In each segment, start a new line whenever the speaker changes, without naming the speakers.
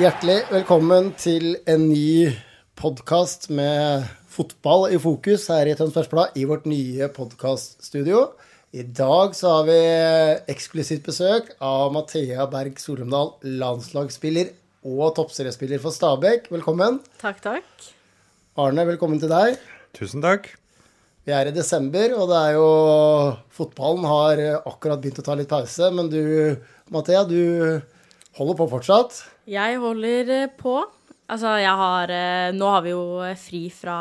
Hjertelig velkommen til en ny podkast med fotball i fokus her i Tønsbergs Blad i vårt nye podkaststudio. I dag så har vi eksklusivt besøk av Mathea Berg Solumdal, landslagsspiller og toppseriespiller for Stabæk. Velkommen.
Takk, takk.
Arne, velkommen til deg.
Tusen takk.
Vi er i desember, og det er jo Fotballen har akkurat begynt å ta litt pause, men du, Mathea, du holder på fortsatt.
Jeg holder eh, på. Altså, jeg har eh, Nå har vi jo eh, fri fra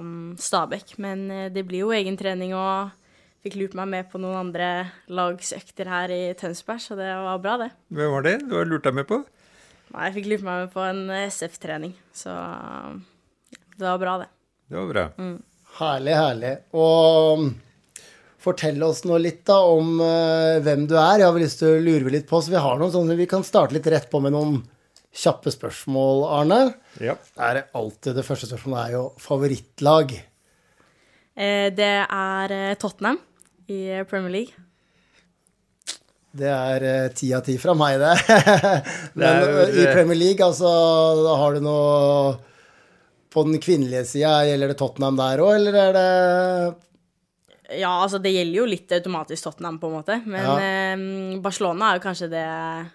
mm, Stabæk, men eh, det blir jo egen trening og fikk lurt meg med på noen andre lagsøkter her i Tønsberg, så det var bra, det.
Hvem var det du har lurt deg med på?
Nei, jeg fikk lurt meg med på en eh, SF-trening, så mm, det var bra, det.
Det var bra.
Mm.
Herlig, herlig. Og um, fortell oss nå litt da om eh, hvem du er. Jeg har vel lyst til å lure litt på, så vi har noen sånne Vi kan starte litt rett på med noen kjappe spørsmål, Arne.
Ja.
Det er alltid det første spørsmålet er jo favorittlag.
Eh, Det er eh, Tottenham i eh, Premier League.
Det er eh, ti av ti fra meg, det. Men
Det er
eh,
jo-
i Premier League, altså, da har du noe På den kvinnelige sida, gjelder det Tottenham der òg, eller er det
Ja, altså det gjelder jo litt automatisk Tottenham, på en måte. Men
Ja.
eh, Barcelona er jo kanskje det,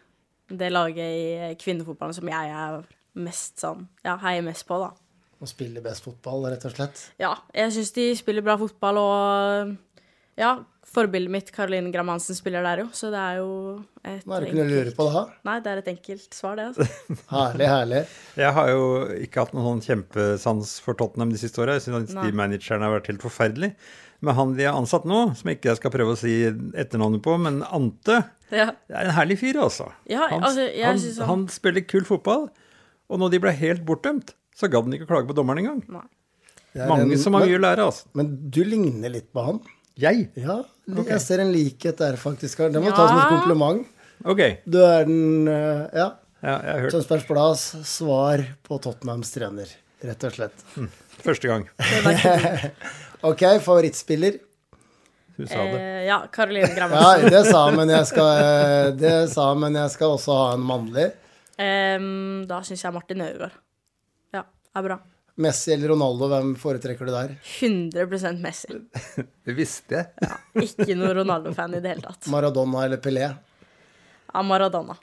det laget i eh, kvinnefotballen som jeg er mest sånn Ja, heier mest på, da.
å spille best fotball, rett og slett?
Ja, jeg syns de spiller bra fotball, og ja, forbildet mitt, Caroline Gram Hansen, spiller der jo, så det er jo et
Nå er det ikke noe å lure på da.
Nei, det er et enkelt svar, det, altså.
Herlig, herlig.
Jeg har jo ikke hatt noen sånn kjempesans for Tottenham de siste åra. Jeg syns
Nei.
de managerne har vært helt forferdelige. Men han de har ansatt nå, som ikke jeg skal prøve å si etternavnet på, men Ante,
Ja.
det er en herlig fyr, altså.
Ja,
han,
altså, jeg
han,
synes han-
han... spiller kul fotball, og når de ble helt bortdømt, så gadd han ikke å klage på dommeren engang.
Det er en-
Mange som har
men-
mye å lære, altså.
Men du ligner litt på han.
Jeg?
Ja, li-
Ok.
jeg ser en likhet der, faktisk. Karl. Det må du ta som et
Ja.
kompliment.
Ok. Ja,
Du er den eh, Ja.
jeg har hørt
Tønsbergs Blads svar på Tottenhams trener, rett og slett.
første gang
Ok, favorittspiller.
du sa det.
Eh, ja, Caroline Gram
Ja,
Hansen.
det sa han, men jeg skal eh, Det sa han, men jeg skal også ha en mannlig.
Em, da syns jeg Martin Ødegaard. Ja, er bra.
Messi eller Ronaldo, hvem foretrekker du der?
100 Messi.
Det visste jeg.
Ikke noe Ronaldo-fan i det hele tatt.
Maradona eller Pelé?
Av Maradona.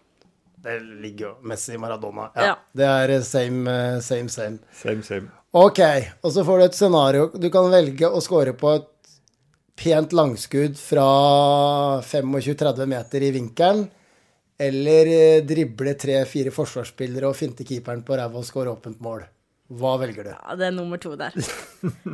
Det ligger jo Messi, Maradona.
Ja.
Ja. Det er eh, same, eh, same, same.
Same, same.
Ok, og så får du et scenario. Du kan velge å score på et pent langskudd fra 25-30 meter i vinkelen, eller eh, drible tre-fire forsvarsspillere og finte keeperen på ræva og score åpent mål. Hva velger du?
Ja, det er nummer to der.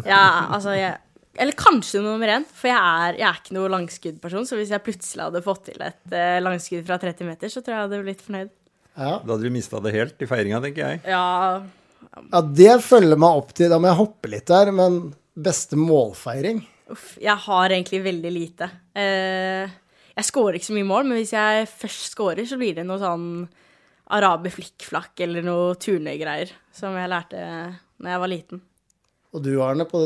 Ja, altså jeg, Eller kanskje nummer én, for jeg er, jeg er ikke noe langskuddperson. Så hvis jeg plutselig hadde fått til et eh, langskudd fra 30 meter, så tror jeg jeg hadde blitt fornøyd.
Ja.
Da hadde du mista det helt i feiringa, tenker jeg.
Ja,
ja, det følger meg opp til Da må jeg hoppe litt der, men beste målfeiring?
uff. Jeg har egentlig veldig lite. Eh, jeg scorer ikke så mye mål, men hvis jeg først scorer, så blir det noe sånn araber flikkflakk eller noe turnegreier som jeg lærte når jeg var liten.
Og du, Arne, på,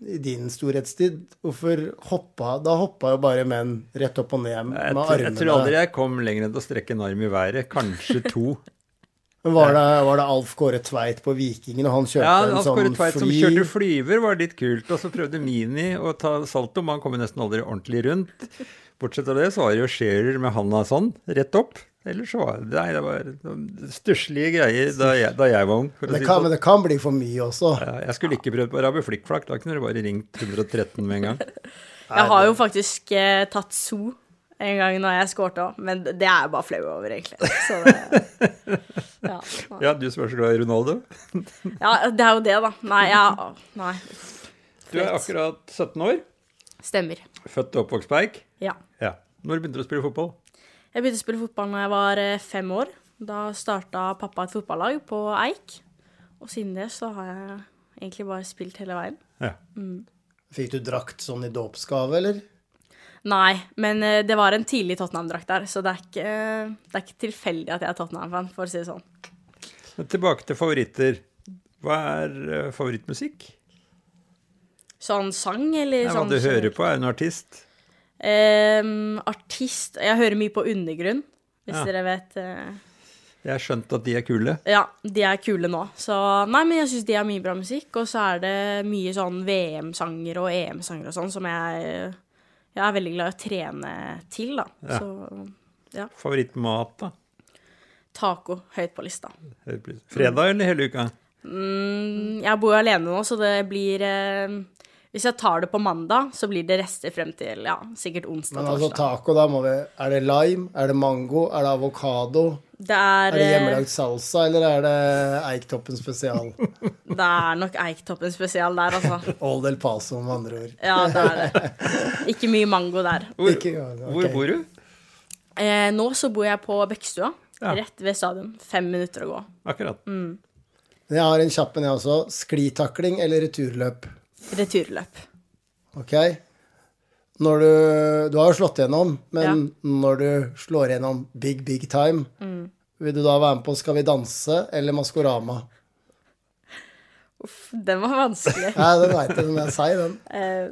i din storhetstid, hvorfor hoppa Da hoppa jo bare menn rett opp og ned med
Jeg, tror- jeg
armene.
tror aldri jeg kom lenger enn til å strekke en arm i været. Kanskje to.
Men var det, var det Alf Kåre Tveit på Vikingen, og han kjørte
ja, altså,
en
Alf
sånn
Kåre Tveit som
fly?
kjørte flyver, var litt kult. Og så prøvde Mini å ta salto, men han kom jo nesten aldri ordentlig rundt. Bortsett fra det så var det jo Scherer med handa sånn, rett opp. Ellers så var det Nei, det var stusslige greier da jeg, da jeg var ung. For å
Men
si
det, kan, men
det. sånn.
det kan bli for mye også.
Ja, jeg skulle ikke prøvd på Rabe Flikkflakk, da kunne du bare ringt 113 med en gang.
Jeg har jo faktisk eh, tatt so en gang når jeg skårte òg, men det er jeg bare flau over, egentlig. Så det, ja, nei.
Ja, du som er så glad i Ronaldo.
ja, det er jo det, da. Nei, ja, nei.
Du er akkurat 17 år,
Stemmer.
født og oppvokst på Eik.
Ja.
Ja. Når begynte du å spille fotball?
Jeg begynte å spille fotball da jeg var eh, fem år. Da starta pappa et fotballag på Eik, og siden det så har jeg egentlig bare spilt hele veien.
Ja.
Fikk du drakt sånn i dåpsgave, eller?
Nei, men eh, det var en tidlig Tottenham-drakt der, så det er ikke, eh, det er ikke tilfeldig at jeg er Tottenham-fan, for å si det sånn.
Men Tilbake til favoritter. Hva er eh, favorittmusikk?
Sånn sang, eller
Nei, hva
sånn
du hører på? Er du en artist?
Ehm, artist Jeg hører mye på Undergrunn, hvis
Ja.
dere vet. eh.
Jeg har skjønt at de er kule.
Ja, de er kule nå. Så nei, men jeg syns de har mye bra musikk. Og så er det mye sånn VM-sanger og EM-sanger og sånn som jeg, eh, jeg er veldig glad i å trene til, da. Så
Favorittmat, da?
taco høyt på lista.
Hører på- Fredag eller hele uka?
Mm, Jeg bor jo alene nå, så det blir eh, Hvis jeg tar det på mandag, så blir det rester frem til ja, sikkert onsdag.
Men altså
torsdag.
taco, da må vi Er det lime? Er det mango? Er det avokado?
Det er,
Er det
eh,
hjemmelagd salsa, eller er det Eiktoppen spesial?
eh, det er nok Eiktoppen spesial der, altså.
Old El Paso, med andre ord.
Ja, det er det. Ikke mye mango der.
Hvor,
Ikke- ja, ok.
hvor bor du?
Eh, nå så bor jeg på Bekkstua,
Ja.
rett ved stadion. Fem minutter å gå.
Akkurat.
Men Jeg har en kjapp en, jeg også. Sklitakling eller returløp?
Returløp.
Ok? Når du, du har jo slått gjennom, men når du slår gjennom big, big time, vil du da være med på Skal vi danse eller Maskorama?
Uff, den var vanskelig.
Nei, den veit jeg, den er seig, den.
Eh,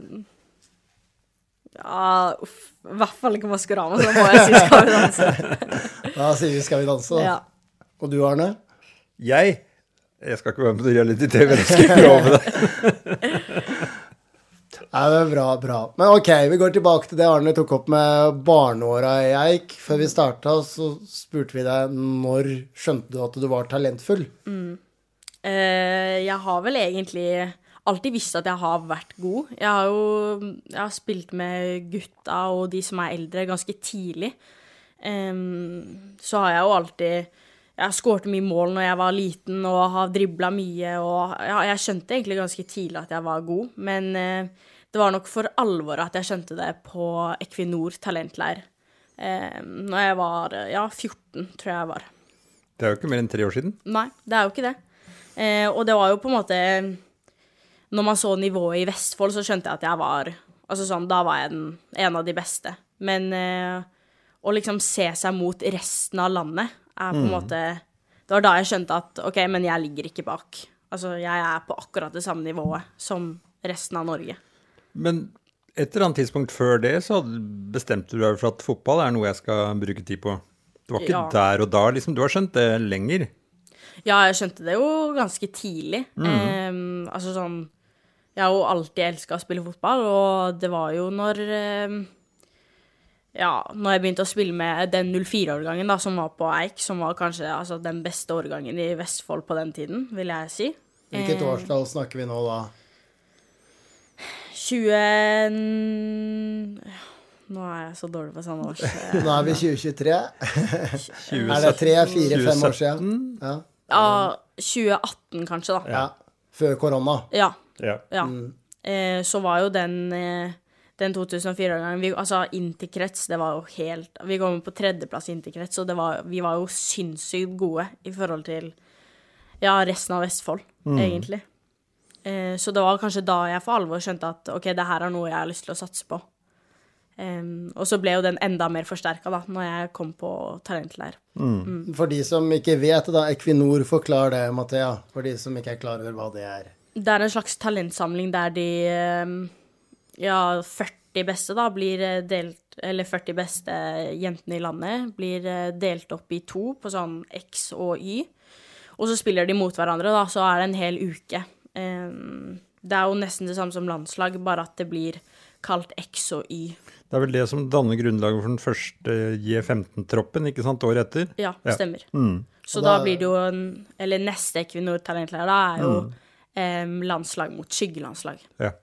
ja, uff. I hvert fall ikke Maskorama, så da må jeg si Skal vi danse.
Da sier vi Skal vi danse, da.
Ja.
Og du, Arne?
Jeg Jeg skal ikke være med på reality-TV, det skal jeg love deg.
Nei, det er bra, bra. Men ok, vi går tilbake til det Arne tok opp med barneåra i Eik. Før vi starta, så spurte vi deg når skjønte du at du var talentfull?
Eh, jeg har vel egentlig alltid visst at jeg har vært god. Jeg har jo jeg har spilt med gutta og de som er eldre, ganske tidlig. Em, så har jeg jo alltid Jeg har skåret mye mål når jeg var liten og har dribla mye. Og ja, jeg skjønte egentlig ganske tidlig at jeg var god, men eh, det var nok for alvor at jeg skjønte det på Equinor talentleir. Uh, når jeg var eh, ja, 14, tror jeg jeg var.
Det er jo ikke mer enn tre år siden.
Nei, det er jo ikke det. Eh, og det var jo på en måte Når man så nivået i Vestfold, så skjønte jeg at jeg var Altså sånn, da var jeg den, en av de beste. Men eh, å liksom se seg mot resten av landet er på en måte Det var da jeg skjønte at OK, men jeg ligger ikke bak. Altså, jeg er på akkurat det samme nivået som resten av Norge.
Men et eller annet tidspunkt før det så hadde- bestemte du deg for at fotball er noe jeg skal bruke tid på. Det var ikke
Ja.
der og da, liksom. Du har skjønt det lenger.
Ja, jeg skjønte det jo ganske tidlig. Eh, altså sånn Jeg har jo alltid elska å spille fotball, og det var jo når eh, Ja, når jeg begynte å spille med den 04-årgangen da, som var på Eik, som var kanskje altså, den beste årgangen i Vestfold på den tiden, vil jeg si.
Hvilket årstall snakker vi nå da?
20... Nå er jeg så dårlig på sånne års...
Nå er vi 2023. Er
2017.
det tre, fire, fem år siden? Ja.
Ja, 2018 kanskje, da.
ja. Før korona.
Ja.
Ja.
Ja. Eh, så var jo den, eh, den 2004-årgangen vi- Altså interkrets, det var jo helt Vi kom på tredjeplass i interkrets, og det var, vi var jo sinnssykt gode i forhold til ja, resten av Vestfold, egentlig. Eh, så det var kanskje da jeg for alvor skjønte at OK, det her er noe jeg har lyst til å satse på. Em, og så ble jo den enda mer forsterka da når jeg kom på talentleir.
For de som ikke vet det, da. Equinor, forklar det, Mathea. For de som ikke er klar over hva det er.
Det er en slags talentsamling der de ehm, Ja, 40 beste da blir eh, delt Eller 40 beste jentene i landet blir eh, delt opp i to på sånn X og Y. Og så spiller de mot hverandre, da, så er det en hel uke. Ehm, Det er jo nesten det samme som landslag, bare at det blir kalt X og Y.
Det er vel det som danner grunnlaget for den første J15-troppen, ikke sant, året etter?
Ja,
Ja.
stemmer. Så
Mm. Og
da
da-
blir det jo en Eller neste Equinor talentlærer, da er jo
Mm.
ehm, landslag mot skyggelandslag.
Ja.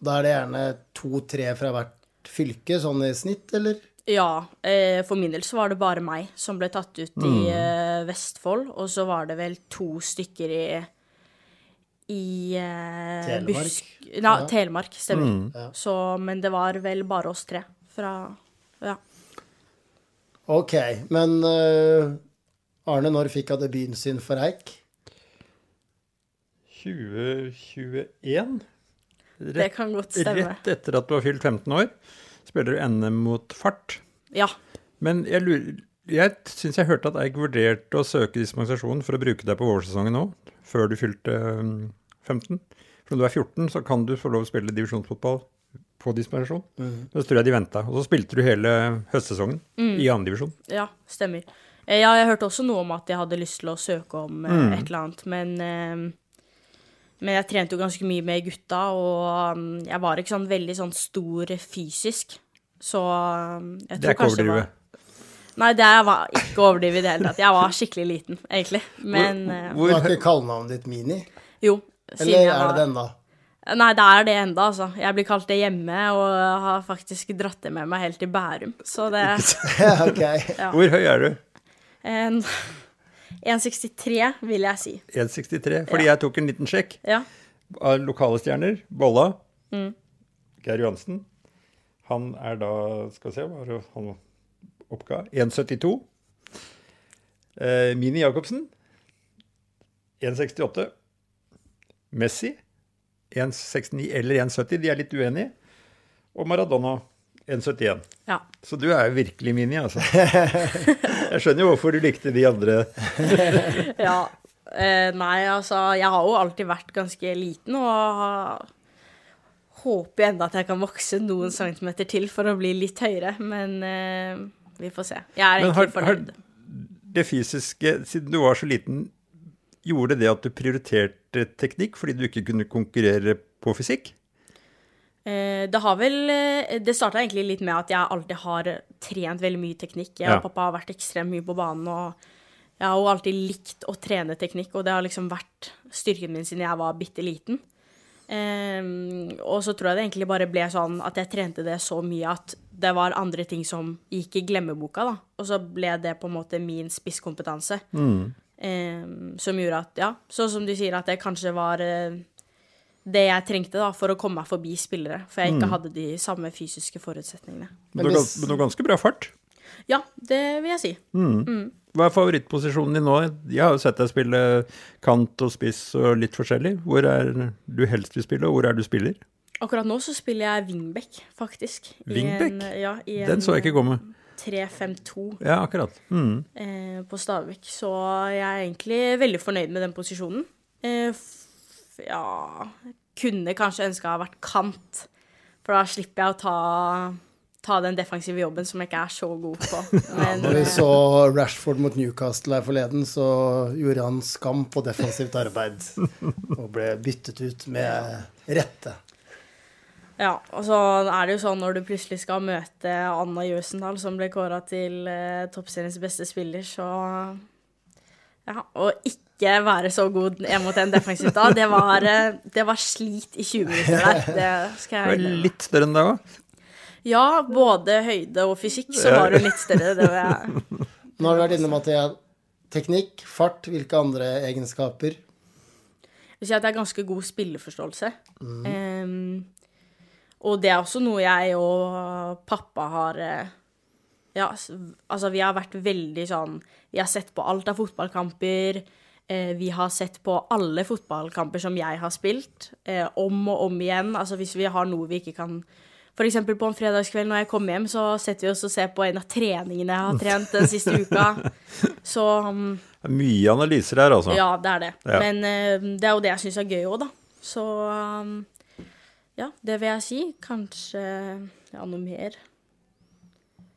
Da er det gjerne to-tre fra hvert fylke, sånn i snitt, eller?
Ja, eh, for min del så var det bare meg som ble tatt ut i eh, Vestfold, og så var det vel to stykker i i eh,
Telemark.
Busk... Ja, Telemark, stemmer.
Ja.
Så, men det var vel bare oss tre fra Ja.
Ok, men eh, Arne, når fikk han debuten sin for Eik?
2021.
Det kan godt stemme.
Rett etter at du har fylt 15 år, spiller du NM mot fart.
Ja.
Men jeg, lurer- jeg syns jeg hørte at Eik vurderte å søke dispensasjon for å bruke deg på vårsesongen nå, før du fylte øhm, 15. For når du er 14, så kan du få lov å spille divisjonsfotball på dispensasjon. Men Så tror jeg de venta. Og så spilte du hele høstsesongen
Mm.
i andredivisjon.
Ja, stemmer. Eh, Ja, jeg hørte også noe om at jeg hadde lyst til å søke om eh,
Mm.
et eller annet, men eh, Men jeg trente jo ganske mye med gutta, og mm, jeg var ikke sånn veldig sånn stor fysisk, så mm, jeg
Det er
tror
ikke
kanskje det
overdrive.
var- Nei, det er- var ikke overdrivet i det hele tatt. Jeg var skikkelig liten, egentlig. Men eh,
Du
Hvor,
har ikke kallenavnet ditt Mini?
jo.
Eller
jeg
er
var-
det den, da?
Nei, det er det enda, altså. Jeg blir kalt det hjemme, og har faktisk dratt det med meg helt til Bærum. Så det
ok.
hvor høy er du?
En 1,63 vil jeg si.
1,63. Fordi jeg tok en liten sjekk.
Ja.
av lokale stjerner, Bolla, Geir Johansen. Han er da, skal vi se, hva var det han oppga 1,72. Eh, Mini Jacobsen 1,68. Messi 1,69 eller 1,70, de er litt uenige. Og Maradona 1,71.
ja.
Så du er jo virkelig Mini, altså. Jeg skjønner jo hvorfor du likte de andre.
Ja. Eh, nei, altså, jeg har jo alltid vært ganske liten, og har- håper enda at jeg kan vokse noen centimeter til for å bli litt høyere, men eh, vi får se. Jeg er
Men har-
egentlig fornøyd.
det fysiske, siden du var så liten, gjorde det at du prioriterte teknikk fordi du ikke kunne konkurrere på fysikk?
Eh, det har vel eh, Det starta egentlig litt med at jeg alltid har trent veldig mye teknikk. Jeg
Ja.
og pappa har vært ekstremt mye på banen, og jeg har jo alltid likt å trene teknikk, og det har liksom vært styrken min siden jeg var bitte liten. Eh, og så tror jeg det egentlig bare ble sånn at jeg trente det så mye at det var andre ting som gikk i glemmeboka, da. Og så ble det på en måte min spisskompetanse. Eh, som gjorde at, ja, sånn som du sier, at det kanskje var eh, det jeg trengte da, for å komme meg forbi spillere. For jeg
Mm.
ikke hadde de samme fysiske forutsetningene.
Men du har gans- men du har ganske bra fart.
Ja, det vil jeg si.
Hva er favorittposisjonen din nå? Jeg har jo sett deg spille kant og spiss og litt forskjellig. Hvor er du helst vil spille, og hvor er du spiller?
Akkurat nå så spiller jeg wingback, faktisk. I
Wingback?
en- Ja, i en
Den så jeg ikke komme.
3-5-2
Ja, akkurat. Mm.
eh, på Stabekk. Så jeg er egentlig veldig fornøyd med den posisjonen. Eh, f ja Kunne kanskje ønska å ha vært kant, for da slipper jeg å ta, ta den defensive jobben som jeg ikke er så god på. Men, eh,
Når vi så Rashford mot Newcastle her forleden, så gjorde han skam på defensivt arbeid. Og ble byttet ut med rette.
Ja, og så er det jo sånn når du plutselig skal møte Anna Jøsendal, som ble kåra til eh, toppseriens beste spiller, så Ja, og ikke være så god én mot én defensivt da, det var, eh, det var slit i 20 minutter der. Det skal
Du
jeg
er
innrømme.
litt større enn deg òg.
Ja, både høyde og fysikk, så var hun litt større. Det var jeg.
Nå har du vært innom at jeg teknikk, fart, hvilke andre egenskaper?
Jeg vil si at jeg har ganske god spilleforståelse. Em, og det er også noe jeg og pappa har eh, Ja, s- altså vi har vært veldig sånn Vi har sett på alt av fotballkamper. eh, vi har sett på alle fotballkamper som jeg har spilt, eh, om og om igjen. Altså hvis vi har noe vi ikke kan for eksempel på en fredagskveld når jeg kommer hjem, så setter vi oss og ser på en av treningene jeg har trent den siste uka. Så mm,
Mye analyser her, altså.
ja, det er det.
Ja.
Men eh, det er jo det jeg syns er gøy òg, da. Så um, ja, det vil jeg si. Kanskje ja, noe mer.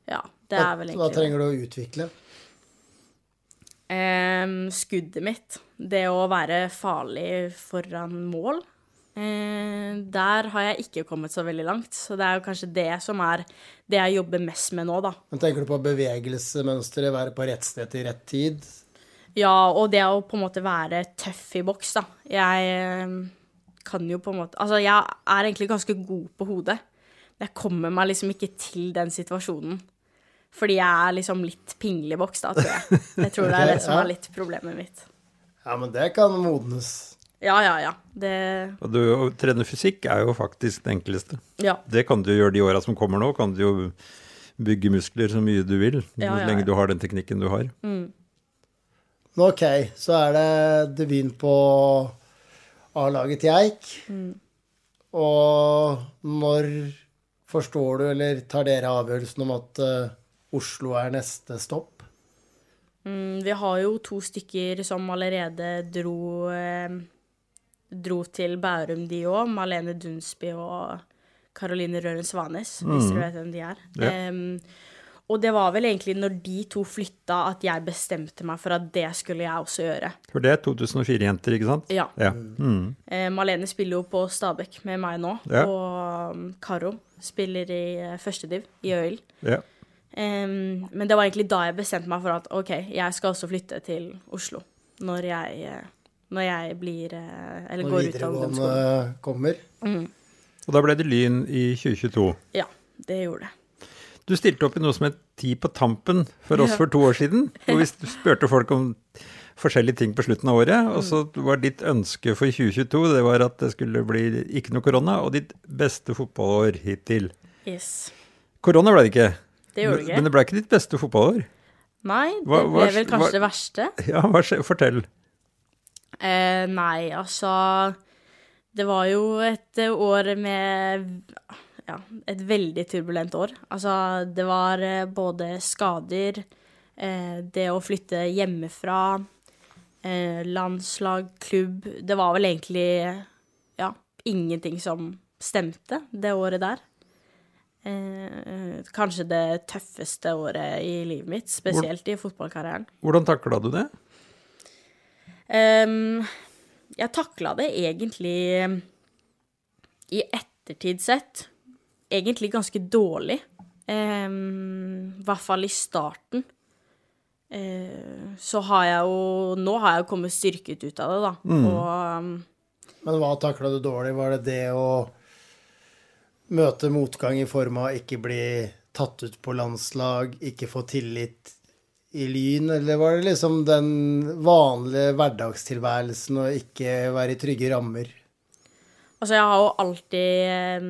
Ja, det
Hva,
er vel
hva
egentlig det.
trenger du å utvikle?
Em, skuddet mitt, det å være farlig foran mål, eh, der har jeg ikke kommet så veldig langt. Så det er jo kanskje det som er det jeg jobber mest med nå, da.
Men tenker du på bevegelsemønsteret, være på rett sted til rett tid?
Ja, og det å på en måte være tøff i boks, da. Jeg eh, kan jo på en måte Altså, jeg er egentlig ganske god på hodet. Men jeg kommer meg liksom ikke til den situasjonen. Fordi jeg er liksom litt pinlig vokst, da, tror jeg. Jeg tror det er det som er litt problemet mitt.
Ja, men det kan modnes.
Ja, ja, ja. Det
Og du, å trene fysikk er jo faktisk det enkleste.
Ja.
Det kan du gjøre de åra som kommer nå. Kan du jo bygge muskler så mye du vil,
Ja, ja,
så
ja. Mm.
lenge du har den teknikken du har.
Men ok, så er det debuten på A-laget til Eik.
Mm.
Og når forstår du, eller tar dere avgjørelsen om at eh, Oslo er neste stopp?
Mm, Vi har jo to stykker som allerede dro, eh, dro til Bærum, de òg. Malene Dunsby og Karoline Røren Svanes, hvis dere vet hvem de er.
Mm. Ja.
Em, og det var vel egentlig når de to flytta at jeg bestemte meg for at det skulle jeg også gjøre.
For det er 2004-jenter, ikke sant?
Ja.
Ja. Mm.
Eh, Malene spiller jo på Stabekk med meg nå,
Ja.
og um, Karo spiller i eh, førstediv i Øyl.
ja.
Em, men det var egentlig da jeg bestemte meg for at OK, jeg skal også flytte til Oslo når jeg, eh, når jeg blir eh, Eller
Når
går ut av
videregående
ungdomsskolen.
kommer?
Og da ble det Lyn i 2022.
Ja, det gjorde det.
Du stilte opp i noe som het Ti på tampen for oss
Ja.
for to år siden. Og vi spurte folk om forskjellige ting på slutten av året. Og så
Mm.
var ditt ønske for 2022 det var at det skulle bli ikke noe korona, og ditt beste fotballår hittil.
Yes.
Korona ble det ikke.
Det gjorde det
Men
ikke.
det ble ikke ditt beste fotballår.
Nei, det
Hva- hva-
ble vel kanskje
hva-
det verste.
Ja, hva skje, fortell.
Eh, nei, altså Det var jo et eh, år med Ja, et veldig turbulent år. Altså, det var eh, både skader, eh, det å flytte hjemmefra, eh, landslag, klubb Det var vel egentlig ja, ingenting som stemte det året der. Eh, kanskje det tøffeste året i livet mitt, spesielt i fotballkarrieren.
Hvordan takla du det?
Ehm, jeg takla det egentlig um, i ettertid sett egentlig ganske dårlig. Ehm, I hvert fall i starten. Eh, så har jeg jo Nå har jeg jo kommet styrket ut av det, da. Og um,
Men hva takla du dårlig? Var det det å møte motgang i form av ikke bli tatt ut på landslag, ikke få tillit i Lyn, eller var det liksom den vanlige hverdagstilværelsen å ikke være i trygge rammer?
Altså, jeg har jo alltid eh,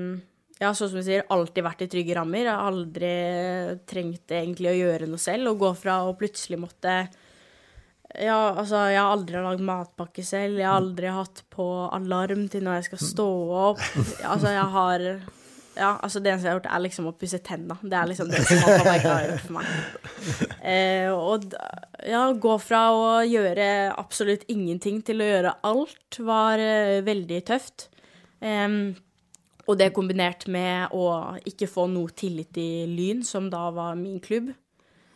Jeg har sånn som du sier, alltid vært i trygge rammer. Jeg har aldri trengt egentlig å gjøre noe selv. Å gå fra å plutselig måtte ja, altså, Jeg har aldri lagd matpakke selv. Jeg har aldri hatt på alarm til når jeg skal stå opp. Altså, jeg har ja, altså Det eneste jeg har gjort, er liksom å pusse tenna. Det er liksom det som mamma og pappa har gjort for meg. Eh, og d- ja, gå fra å gjøre absolutt ingenting til å gjøre alt var eh, veldig tøft. Em, og det kombinert med å ikke få noe tillit i Lyn, som da var min klubb,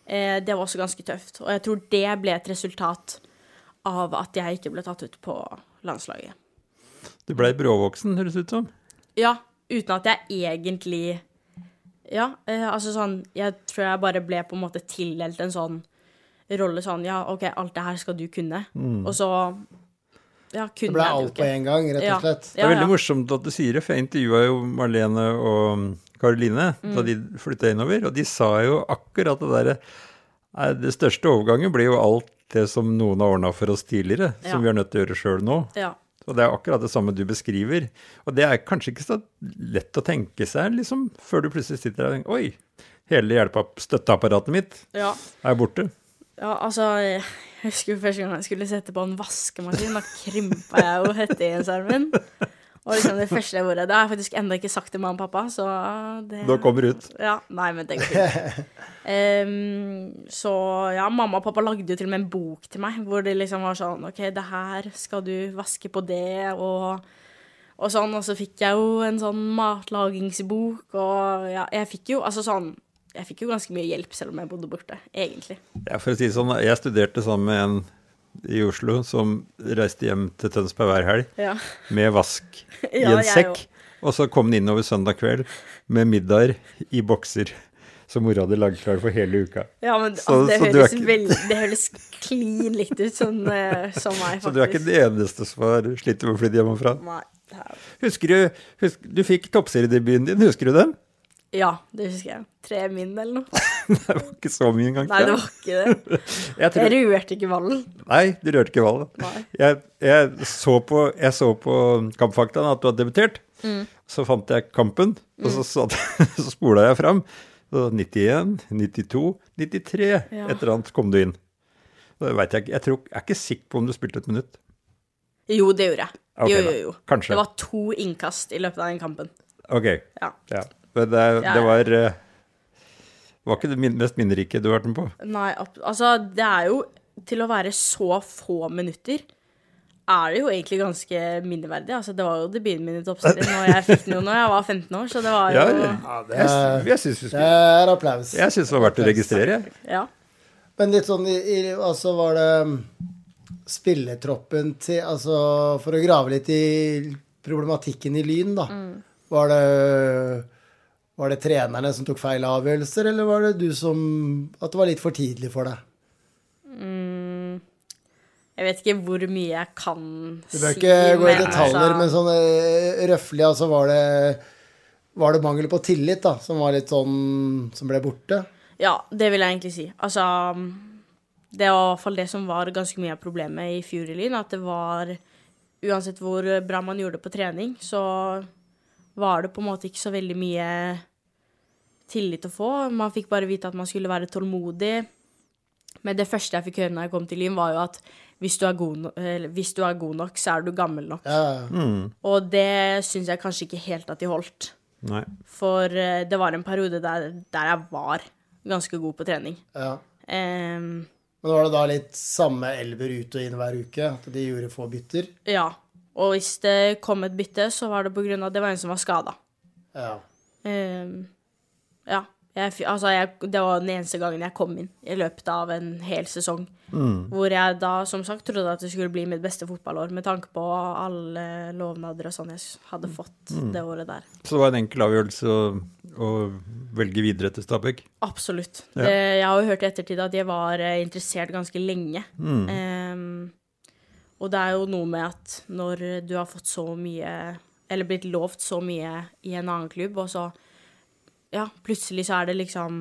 eh, det var også ganske tøft. Og jeg tror det ble et resultat av at jeg ikke ble tatt ut på landslaget.
Du blei bråvoksen, høres det ut som.
Ja, uten at jeg egentlig Ja, eh, altså sånn Jeg tror jeg bare ble på en måte tildelt en sånn rolle sånn Ja, OK, alt det her skal du kunne. Og så Ja,
Det
kunne
ble
jeg det jo
alt på
ikke.
en gang, rett
Ja.
og slett.
Det er
Ja,
veldig
ja.
morsomt at du sier det, for jeg intervjua jo Marlene og um, Karoline da
Mm.
de flytta innover, og de sa jo akkurat det derre Nei, det største overgangen blir jo alt det som noen har ordna for oss tidligere,
Ja.
som vi er nødt til å gjøre sjøl nå.
Ja.
Og det er akkurat det samme du beskriver. Og det er kanskje ikke så lett å tenke seg, liksom, før du plutselig sitter der og tenker Oi, hele hjelpeapp- støtteapparatet mitt
Ja.
er borte.
ja, altså Jeg husker jo første gang jeg skulle sette på en vaskemaskin, da krympa jeg jo hettegensermen. Og liksom det første ordet Det har jeg faktisk ennå ikke sagt til mamma og pappa, så det
Nå kommer det ut.
Ja, nei, men det går fint. Ehm, så ja, mamma og pappa lagde jo til og med en bok til meg, hvor det liksom var sånn OK, det her skal du vaske på det, og, og sånn. Og så fikk jeg jo en sånn matlagingsbok, og ja, jeg fikk jo altså sånn Jeg fikk jo ganske mye hjelp selv om jeg bodde borte, egentlig.
Ja, for å si det sånn, jeg studerte sammen med en i Oslo som reiste hjem til Tønsberg hver helg
Ja.
med vask i
Ja,
en
jeg
sekk. Og så kom den inn over søndag kveld med middager i bokser som mora hadde lagd klar for hele uka.
Ja, men
Så-
altså, det,
så du er
høres
ikke-
veldig, det høres klin likt ut sånn, eh, som meg, faktisk.
Så du er ikke den eneste som har slitt med å flytte hjemmefra.
Nei, det er...
Husker du husk, Du fikk toppseriedebuten din, husker du den?
Ja, det husker jeg. Tre min eller noe.
Det var ikke så mye engang.
Nei, det var ikke det.
Jeg
Jeg
tror,
rørte ikke ballen.
nei, du rørte ikke valget. Jeg, jeg, så på, jeg så på Kampfaktaen at du hadde debutert.
Mm.
Så fant jeg kampen, og så, satt- så spola jeg fram. Så 91, 92, 93.
Ja.
Et eller annet kom du inn. Så det vet jeg, ikke. jeg, tror, jeg er ikke sikker på om du spilte et minutt.
Jo, det gjorde jeg.
Ok,
jo,
da.
jo, jo.
Kanskje.
Det var to innkast i løpet av den kampen.
Ok.
Ja.
Ja. Men det,
Ja,
det
ja.
var eh, var ikke det min- mest minnerike du har vært med på.
Nei, ab- altså, det er jo Til å være så få minutter er det jo egentlig ganske minneverdig. Altså, det var jo debuten min i toppserien når jeg fikk den jo når jeg var 15 år, så det var jo
Ja,
Ja.
Det er,
Jeg syns vi
det
skulle
er applaus.
jeg synes det var verdt å registrere. jeg.
Men litt sånn i, i Altså, var det mm, spilletroppen til Altså, for å grave litt i problematikken i Lyn, da. Var det var det trenerne som tok feil avgjørelser, eller var det du som At det var litt for tidlig for deg?
Mm. Jeg vet ikke hvor mye jeg kan
Du bør ikke gå i
men
detaljer,
altså-
men sånn eh, røffelig, altså var det Var det mangel på tillit, da, som var litt sånn Som ble borte?
Ja, det vil jeg egentlig si. Altså Det var i hvert fall det som var ganske mye av problemet i fjor i Lyn. At det var Uansett hvor bra man gjorde det på trening, så var det på en måte ikke så veldig mye tillit å få. Man fikk bare vite at man skulle være tålmodig. Men det første jeg fikk høre når jeg kom til Lyn, var jo at hvis du er god, no eller, hvis du er god nok, så er du gammel nok.
Ja, ja.
Mm.
Og det syns jeg kanskje ikke helt at de holdt.
Nei.
For eh, det var en periode der, der jeg var ganske god på trening.
ja.
Ehm,
Men var det da litt samme elver ut og inn hver uke? At de gjorde få bytter?
ja. Og hvis det kom et bytte, så var det på grunn av at det var en som var skada.
Ja.
ja. Jeg, fi- altså, jeg, det var den eneste gangen jeg kom inn i løpet av en hel sesong.
Mm.
Hvor jeg da som sagt trodde at det skulle bli mitt beste fotballår, med tanke på alle lovnader og sånn jeg s- hadde fått det året der.
Så det var en enkel avgjørelse å, å velge videre til Stabæk.
Absolutt. Det, jeg har jo hørt i ettertid at jeg var eh, interessert ganske lenge. Ehm, og det er jo noe med at når du har fått så mye, eller blitt lovt så mye i en annen klubb, og så ja, plutselig så er det liksom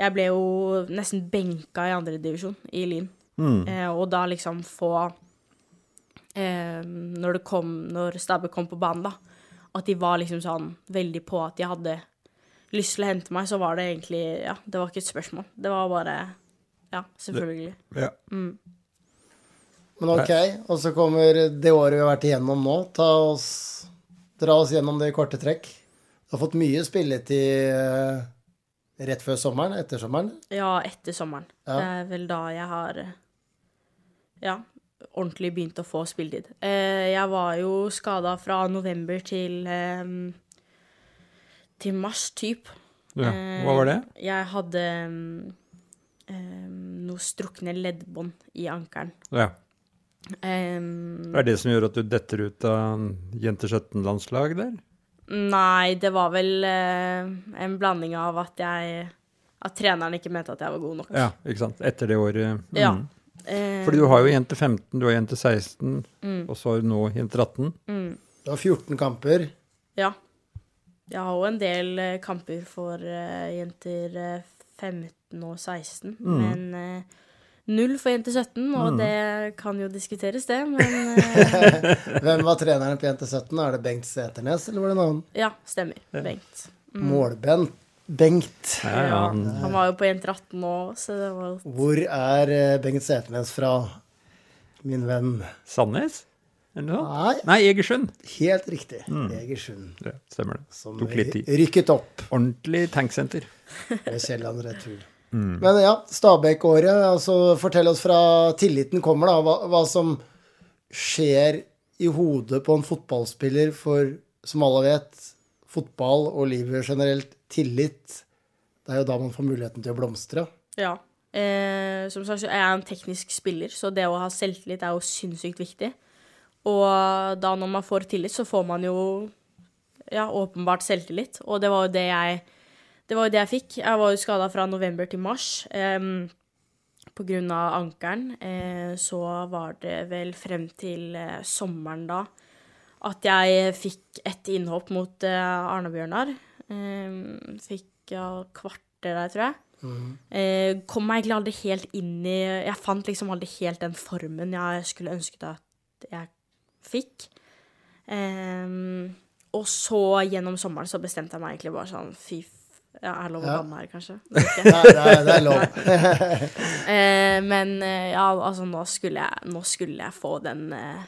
Jeg ble jo nesten benka i andredivisjon i Lyn. Eh, og da liksom få eh, Når det kom, når Stabæk kom på banen, da, at de var liksom sånn veldig på at de hadde lyst til å hente meg, så var det egentlig Ja, det var ikke et spørsmål. Det var bare Ja, selvfølgelig.
Ja.
Men ok, og så kommer det året vi har vært igjennom nå. Ta oss, dra oss gjennom det i korte trekk. Du har fått mye spilletid eh, rett før sommeren, etter sommeren.
Ja, etter sommeren.
Ja.
Det er vel da jeg har eh, Ja, ordentlig begynt å få spilletid. Eh, Jeg var jo skada fra november til eh, til mars, typ.
ja.
Eh,
Hva var det?
Jeg hadde eh, noe strukne leddbånd i ankelen.
Ja.
Eh,
Er det det som gjør at du detter ut av Jenter 17-landslag der?
Nei, det var vel eh, en blanding av at jeg At treneren ikke mente at jeg var god nok.
Ja, ikke sant. Etter det året. Mm.
Ja. Eh,
Fordi du har jo Jenter 15, du har Jenter 16,
Mm.
og så har du nå Jenter 18.
Du har 14 kamper.
ja. Jeg har jo en del eh, kamper for eh, jenter eh, 15 og 16,
Mm.
men eh, null for jenter 17, og det kan jo diskuteres, det. Men eh,
Hvem var treneren på Jente17? Er det Bengt Seternes, eller var det en annen?
ja, stemmer. Bengt.
Målbent. Bengt.
Ja, ja. han-
Han var jo på jenter 18 nå òg, så det var jo
Hvor er eh, Bengt Seternes fra, min venn?
Sandnes? Eller noe?
Nei.
Nei, Egersund.
Helt riktig. Egersund.
Ja, stemmer det.
Som
Mm. Tok litt tid.
rykket opp
Ordentlig tanksenter.
ved Kjell André Thun. Men ja, Stabæk-året. Altså, fortell oss fra tilliten kommer, da. Hva, hva som skjer i hodet på en fotballspiller for, som alle vet, fotball og livet generelt, tillit. Det er jo da man får muligheten til å blomstre.
Ja. Eh, som sagt så er jeg en teknisk spiller, så det å ha selvtillit er jo sinnssykt viktig. Og da når man får tillit, så får man jo ja, åpenbart selvtillit. Og det var jo det jeg, det var jo det jeg fikk. Jeg var jo skada fra november til mars. em, på grunn av ankelen. Eh, så var det vel frem til eh, sommeren da at jeg fikk et innhopp mot eh, Arne-Bjørnar. Ehm, fikk ja, kvarter der, tror jeg. Eh, kom meg egentlig aldri helt inn i Jeg fant liksom aldri helt den formen jeg skulle ønsket at jeg fikk. Ehm, og så gjennom sommeren så bestemte jeg meg egentlig bare sånn Fy f... Ja, er det lov å
Ja.
banne her, kanskje?
Det er, det er, det er lov.
Eh, men eh, ja, altså nå skulle jeg, nå skulle jeg få den eh,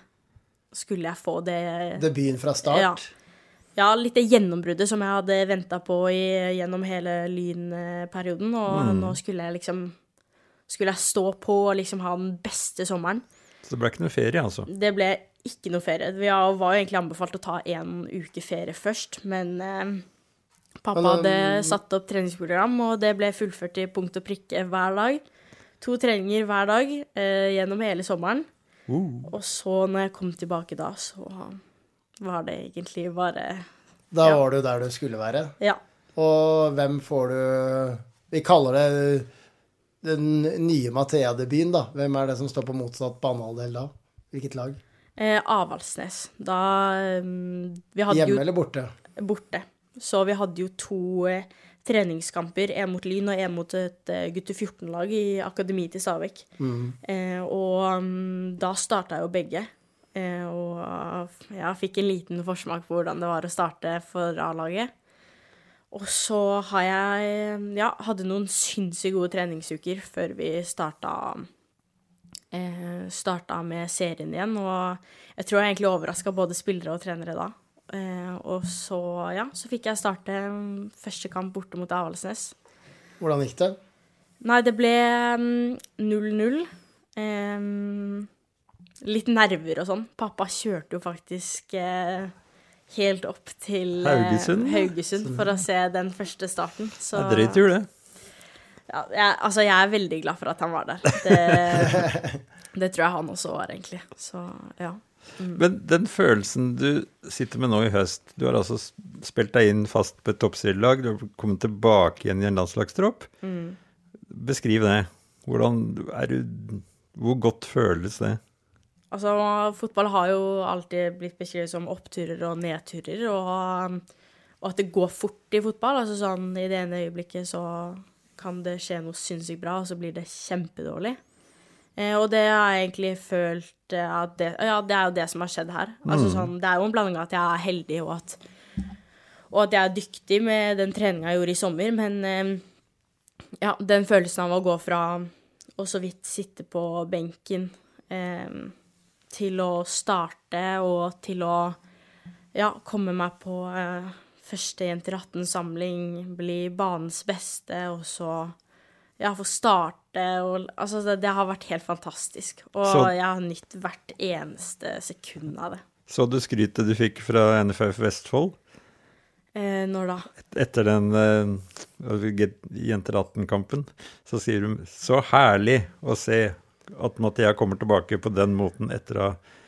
Skulle jeg få det
Debuten fra
Ja.
start.
Ja, litt det gjennombruddet som jeg hadde venta på i, gjennom hele Lyn-perioden. Og nå skulle jeg liksom Skulle jeg stå på og liksom ha den beste sommeren.
Så det ble ikke noe ferie, altså.
Det ble ikke noe ferie. Vi har- var jo egentlig anbefalt å ta en uke ferie først, men eh, pappa
Men, eh,
hadde satt opp treningsprogram, og det ble fullført i punkt og prikke hver dag. To treninger hver dag eh, gjennom hele sommeren. Og så, når jeg kom tilbake da, så var det egentlig bare
Da var du der du skulle være.
Ja.
Og hvem får du Vi kaller det den nye Mathea-debuten, da. Hvem er det som står på motsatt banehalvdel da? Hvilket lag?
Eh, Avaldsnes. Da mm, Vi hadde
Hjemme
jo
eller borte?
borte. Så vi hadde jo to eh, treningskamper, en mot Lyn og en mot et eh, gutte 14-lag i akademiet til Stabekk. Eh, og mm, da starta jo begge. Eh, og eh, jeg fikk en liten forsmak på hvordan det var å starte for A-laget. Og så har jeg eh, ja, hadde noen sinnssykt gode treningsuker før vi starta eh, starta med serien igjen. Og jeg tror jeg egentlig overraska både spillere og trenere da. Eh, og så, ja, så fikk jeg starte mm, første kamp borte mot Avaldsnes.
Hvordan gikk det?
Nei, det ble mm, 0-0. Em, Eh, litt nerver og sånn. Pappa kjørte jo faktisk eh, helt opp til eh,
Haugesund?
Haugesund for å se den første starten. Så,
Det er drøyt jul, det.
ja, jeg, altså, jeg er veldig glad for at han var der. Det, det tror jeg han også var, egentlig. Så ja.
Men den følelsen du sitter med nå i høst Du har altså s- spilt deg inn fast på et toppserielag. Du har kommet tilbake igjen i en landslagstropp. Beskriv det. Hvordan er du Hvor godt føles det?
Altså, fotball har jo alltid blitt beskrevet som oppturer og nedturer, og, um, og at det går fort i fotball. Altså sånn i det ene øyeblikket så kan det skje noe sinnssykt bra, og så blir det kjempedårlig. Eh, og det har jeg egentlig følt eh, at det, Ja, det er jo det som har skjedd her. Altså sånn, Det er jo en blanding av at jeg er heldig, og at, og at jeg er dyktig med den treninga jeg gjorde i sommer, men eh, ja, den følelsen av å gå fra å så vidt sitte på benken eh, til å starte og til å ja, komme meg på eh, første Jenter 18-samling, bli banens beste, og så ja, få starte og Altså, det, det har vært helt fantastisk. Og
Så-
jeg har nytt hvert eneste sekund av det.
Så du skrytet du fikk fra NFF Vestfold
Eh, når da?
etter den eh, get- Jenter 18-kampen? Så sier du så herlig å se at Mathea kommer tilbake på den måten etter å ha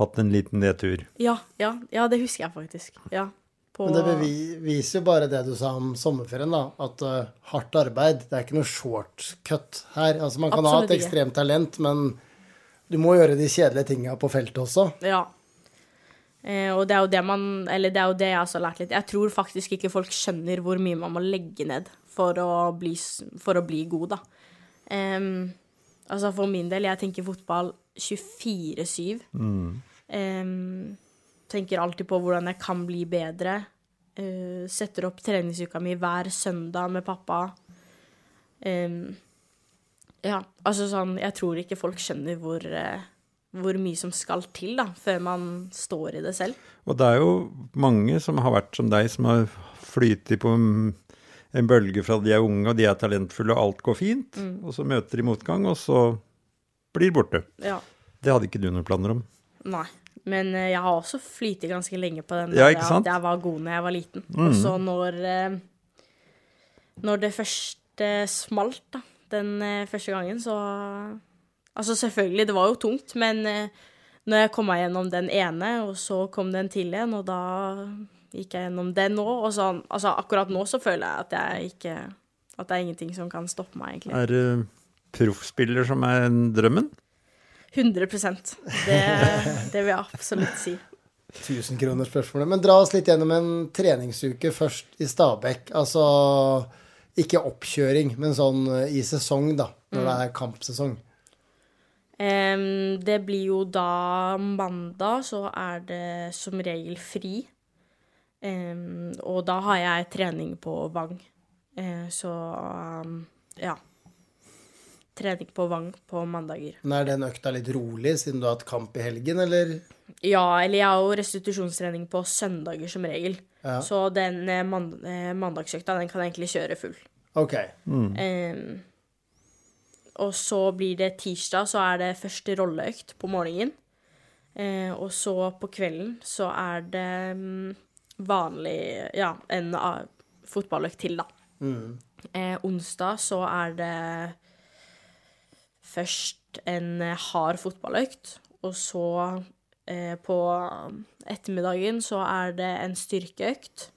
hatt en liten nedtur.
Ja, ja, ja, det husker jeg faktisk. Ja. På,
Men det bevi- viser jo bare det du sa om sommerferien, da. At eh, hardt arbeid, det er ikke noe shortcut her. Altså, man kan ha
Absolutt
et
ikke.
ekstremt talent, men du må gjøre de kjedelige tinga på feltet også.
Ja. Eh, og det er jo det man Eller det er jo det jeg også har lært litt. Jeg tror faktisk ikke folk skjønner hvor mye man må legge ned for å bli, s- for å bli god, da. Em, altså for min del, jeg tenker fotball 24-7.
Mm.
Em, tenker alltid på hvordan jeg kan bli bedre. Eh, setter opp treningsuka mi hver søndag med pappa. Em, ja, altså sånn Jeg tror ikke folk skjønner hvor eh, hvor mye som skal til da, før man står i det selv.
Og det er jo mange som har vært som deg, som har flytet på en en bølge fra de er unge og de er talentfulle og alt går fint, og så møter de motgang, og så blir de borte.
Ja.
Det hadde ikke du noen planer om.
Nei. Men eh, jeg har også flytet ganske lenge på den.
Ja,
der
ikke sant? Mm.
At jeg var god når jeg var liten. Og så når, eh, når det først eh, smalt, da, den eh, første gangen, så Altså selvfølgelig, det var jo tungt, men eh, når jeg kom meg gjennom den ene, og så kom den til igjen, og da gikk jeg gjennom den nå, og sånn Altså akkurat nå så føler jeg at jeg ikke At det er ingenting som kan stoppe meg, egentlig.
Er det proffspiller som er drømmen?
100 det, det vil jeg absolutt si.
Tusenkronersspørsmålet. Men dra oss litt gjennom en treningsuke først i Stabekk. Altså ikke oppkjøring, men sånn eh, i sesong, da. Når
Mm.
det er kampsesong.
Em, det blir jo da mandag, så er det som regel fri. Em, og da har jeg trening på Vang. Eh, så um, ja. Trening på Vang på mandager.
Men er den økta litt rolig siden du har hatt kamp i helgen, eller?
Ja, eller jeg har jo restitusjonstrening på søndager som regel. Så den eh, mand eh, mandagsøkta, den kan jeg egentlig kjøre full.
Ok.
Em, og så blir det tirsdag, så er det første rolleøkt på morgenen. Eh, og så på kvelden så er det mm, vanlig Ja, en a- fotballøkt til, da. Eh, onsdag så er det først en eh, hard fotballøkt, og så eh, på ettermiddagen så er det en styrkeøkt.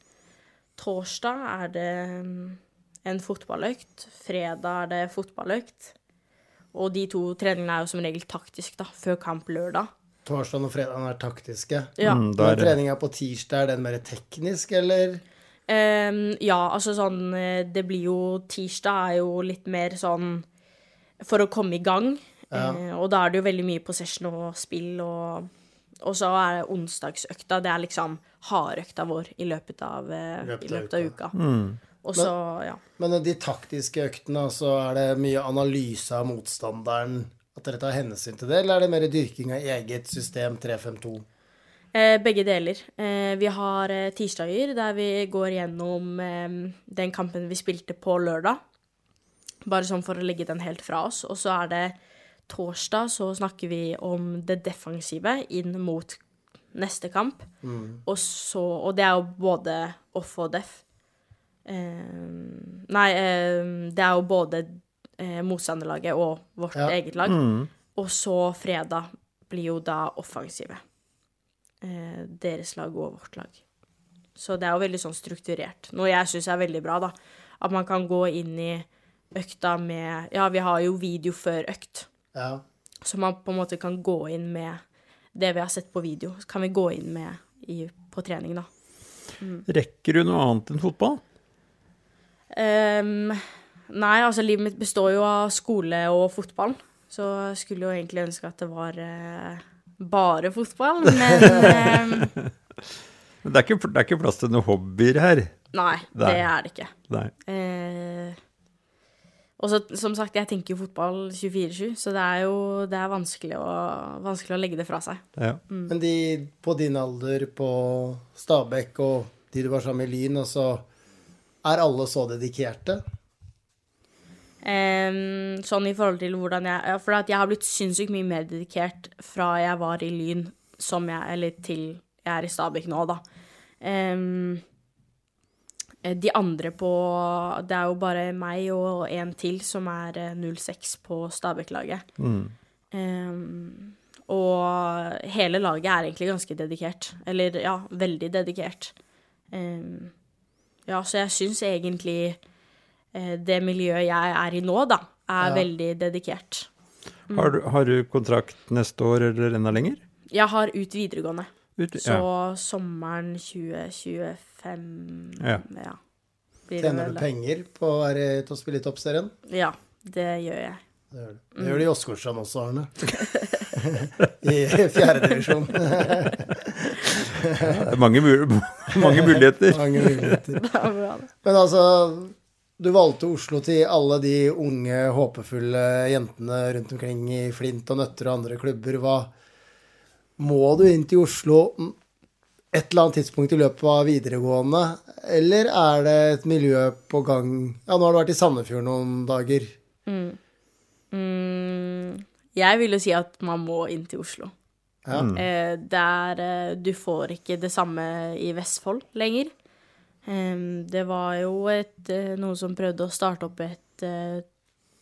Torsdag er det mm, en fotballøkt. Fredag er det fotballøkt. Og de to treningene er jo som regel taktisk, da, før kamp lørdag.
Torsdagen og fredagen er taktiske.
Ja.
Mm, da er
Men
det-
treninga på tirsdag, er den mer teknisk, eller?
Ehm, ja, altså sånn eh, Det blir jo Tirsdag er jo litt mer sånn for å komme i gang. Eh, og da er det jo veldig mye possession og spill og Og så er det onsdagsøkta. Det er liksom hardøkta vår i løpet av, eh,
Løpet
i
av
løpet av uka. Og så, ja.
Men de taktiske øktene, altså, er det mye analyse av motstanderen? At dere tar hensyn til det, eller er det mer dyrking av eget system 3-5-2?
Eh, begge deler. Eh, vi har eh, tirsdager der vi går gjennom eh, den kampen vi spilte på lørdag. Bare sånn for å legge den helt fra oss. Og så er det torsdag, så snakker vi om det defensive inn mot neste kamp. Og, så, og det er jo både off og def. Eh, nei, eh, det er jo både eh, motstanderlaget og vårt
Ja.
eget lag. Og så fredag blir jo da offensive eh, deres lag og vårt lag. Så det er jo veldig sånn strukturert, noe jeg syns er veldig bra, da. At man kan gå inn i økta med Ja, vi har jo video før økt,
Ja.
så man på en måte kan gå inn med det vi har sett på video, så kan vi gå inn med i, på trening, da.
Rekker du noe annet enn fotball?
Ehm, nei, altså livet mitt består jo av skole og fotball, så jeg skulle jo egentlig ønske at det var eh, bare fotball, men ehm,
Men Det er ikke, det er ikke plass til noen hobbyer her.
nei, det
Nei.
er det ikke.
Nei.
Eh, og så, som sagt, jeg tenker jo fotball 24-7, så det er jo det er vanskelig, å, vanskelig å legge det fra seg.
Ja.
Men de på din alder på Stabekk og de du var sammen med i Lyn, og så er alle så dedikerte?
Eh, sånn i forhold til hvordan jeg ja, For at jeg har blitt sinnssykt mye mer dedikert fra jeg var i Lyn, som jeg, eller til jeg er i Stabæk nå, da. Ehm, eh, de andre på Det er jo bare meg og en til som er eh, 06 på Stabæk-laget. Ehm, og hele laget er egentlig ganske dedikert. Eller ja, veldig dedikert. Ehm, ja, så jeg syns egentlig eh, det miljøet jeg er i nå, da, er veldig dedikert.
Har, du, har du kontrakt neste år eller enda lenger?
Jeg har ut videregående,
Ut,
så
ja.
sommeren 2025
Ja.
ja blir det
Tjener
vel
du
da.
penger på å være til å spille i Toppserien?
Ja, det gjør jeg.
Det gjør du. Det gjør du i Åsgårdstrand også, Arne. I fjerdedivisjon.
Det er mange, mul mange muligheter.
Mange muligheter.
Det er bra, det.
Men altså, du valgte Oslo til alle de unge, håpefulle jentene rundt omkring i Flint og Nøtter og andre klubber. Hva Må du inn til Oslo m, et eller annet tidspunkt i løpet av videregående? Eller er det et miljø på gang Ja, nå har du vært i Sandefjord noen dager.
Mm, jeg vil jo si at man må inn til Oslo.
Ja.
Eh, der eh, du får ikke det samme i Vestfold lenger. Em, det var jo et, eh, noen som prøvde å starte opp et eh,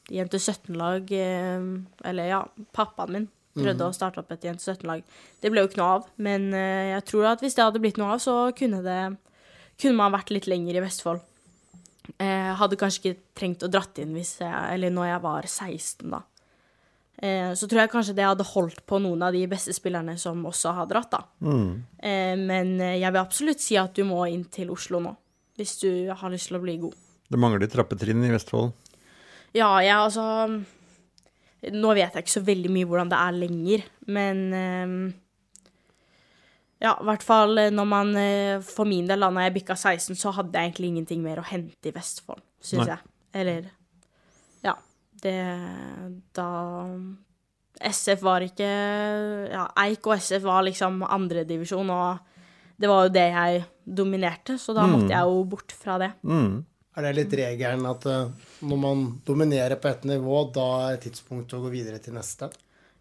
Jente 17-lag em, Eller ja, pappaen min prøvde å starte opp et Jente 17-lag. Det ble jo ikke noe av, men eh, jeg tror at hvis det hadde blitt noe av, så kunne, det, kunne man vært litt lenger i Vestfold. Eh, hadde kanskje ikke trengt å dratt inn hvis jeg, eller når jeg var 16, da. Eh, Så tror jeg kanskje det hadde holdt på noen av de beste spillerne som også har dratt, da. Eh, Men eh, jeg vil absolutt si at du må inn til Oslo nå, hvis du har lyst til å bli god.
Det mangler trappetrinn i Vestfold.
Ja, jeg altså Nå vet jeg ikke så veldig mye hvordan det er lenger, men eh, Ja, i hvert fall eh, når man eh, For min del, da når jeg bikka 16, så hadde jeg egentlig ingenting mer å hente i Vestfold, syns
Nei.
jeg. Eller Ja. Det Da SF var ikke Ja, Eik og SF var liksom andredivisjon, og det var jo det jeg dominerte, så da måtte jeg jo bort fra det.
Mm.
Er det litt regelen at eh, når man dominerer på ett nivå, da er tidspunktet å gå videre til neste?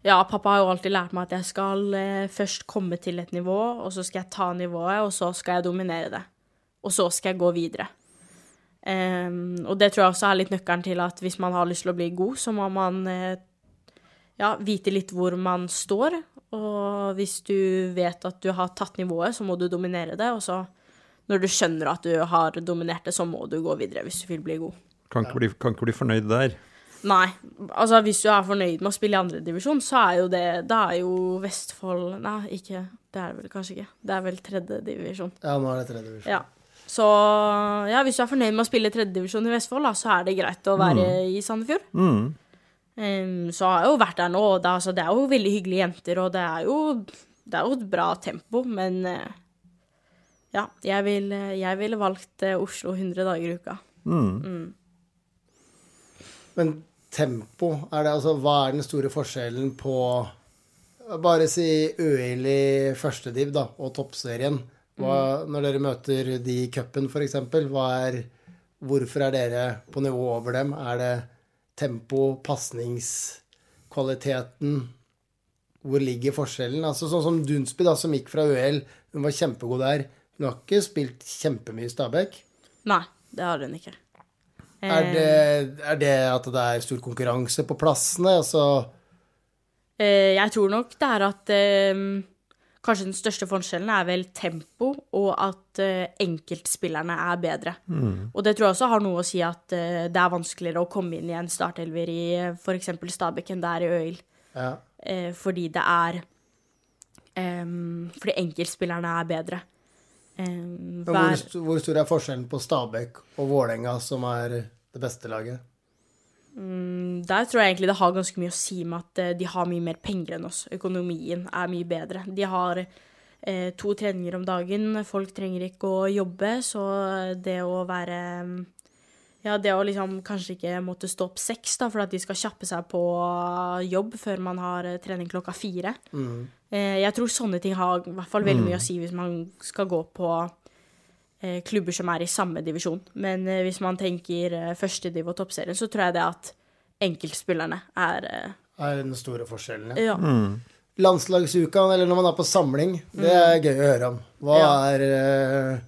Ja, pappa har jo alltid lært meg at jeg skal eh, først komme til et nivå, og så skal jeg ta nivået, og så skal jeg dominere det. Og så skal jeg gå videre. Ehm, og det tror jeg også er litt nøkkelen til at hvis man har lyst til å bli god, så må man eh, ja, vite litt hvor man står. Og hvis du vet at du har tatt nivået, så må du dominere det. Og så, når du skjønner at du har dominert det, så må du gå videre hvis du vil bli god.
Kan ikke bli, kan ikke bli fornøyd der.
Nei. Altså, hvis du er fornøyd med å spille i andredivisjon, så er jo det Da er jo Vestfold Nei, ikke Det er det vel kanskje ikke. Det er vel tredjedivisjon.
Ja, nå er det tredje divisjon.
Ja. Så ja, hvis du er fornøyd med å spille i tredjedivisjon i Vestfold, da, så er det greit å være
Mm.
i Sandefjord. Em, så har jeg jo vært der nå, og det, altså, det er jo veldig hyggelige jenter, og det er jo, det er jo et bra tempo, men eh, ja, jeg vil- jeg ville valgt eh, Oslo 100 dager i uka.
Men tempo, er det altså Hva er den store forskjellen på Bare si Øil i førstediv, da, og toppserien. Hva, Når dere møter de i cupen, f.eks., hva er Hvorfor er dere på nivå over dem? Er det tempo, pasningskvaliteten Hvor ligger forskjellen? Altså Sånn som Dunsby, da, som gikk fra ØL. Hun var kjempegod der. Hun har ikke spilt kjempemye i Stabæk.
Nei, det har hun ikke. Eh.
Er det, er det at det er stor konkurranse på plassene? Altså,
Eh, Jeg tror nok det er at eh, kanskje den største forskjellen er vel tempo, og at eh, enkeltspillerne er bedre.
Mm.
Og det tror jeg også har noe å si at eh, det er vanskeligere å komme inn i en startelver i f.eks. Stabæk enn det er i Øil.
ja.
Eh, fordi det er em, Fordi enkeltspillerne er bedre. Em,
Men hvor,
hver-
st- hvor stor er forskjellen på Stabæk og Vålerenga, som er det beste laget?
Mm, Der tror jeg egentlig det har ganske mye å si med at eh, de har mye mer penger enn oss. Økonomien er mye bedre. De har eh, to treninger om dagen. Folk trenger ikke å jobbe, så det å være mm, Ja, det å liksom kanskje ikke måtte stå opp seks da, for at de skal kjappe seg på jobb før man har eh, trening klokka fire. Eh, jeg tror sånne ting har i hvert fall veldig mye å si hvis man skal gå på eh, klubber som er i samme divisjon. Men eh, hvis man tenker eh, førstediv og toppserien, så tror jeg det at enkeltspillerne er eh,
Er den store forskjellen, ja.
ja.
Landslagsuka, eller når man er på samling, det er gøy å høre om. Hva
Mm. Ja.
er eh,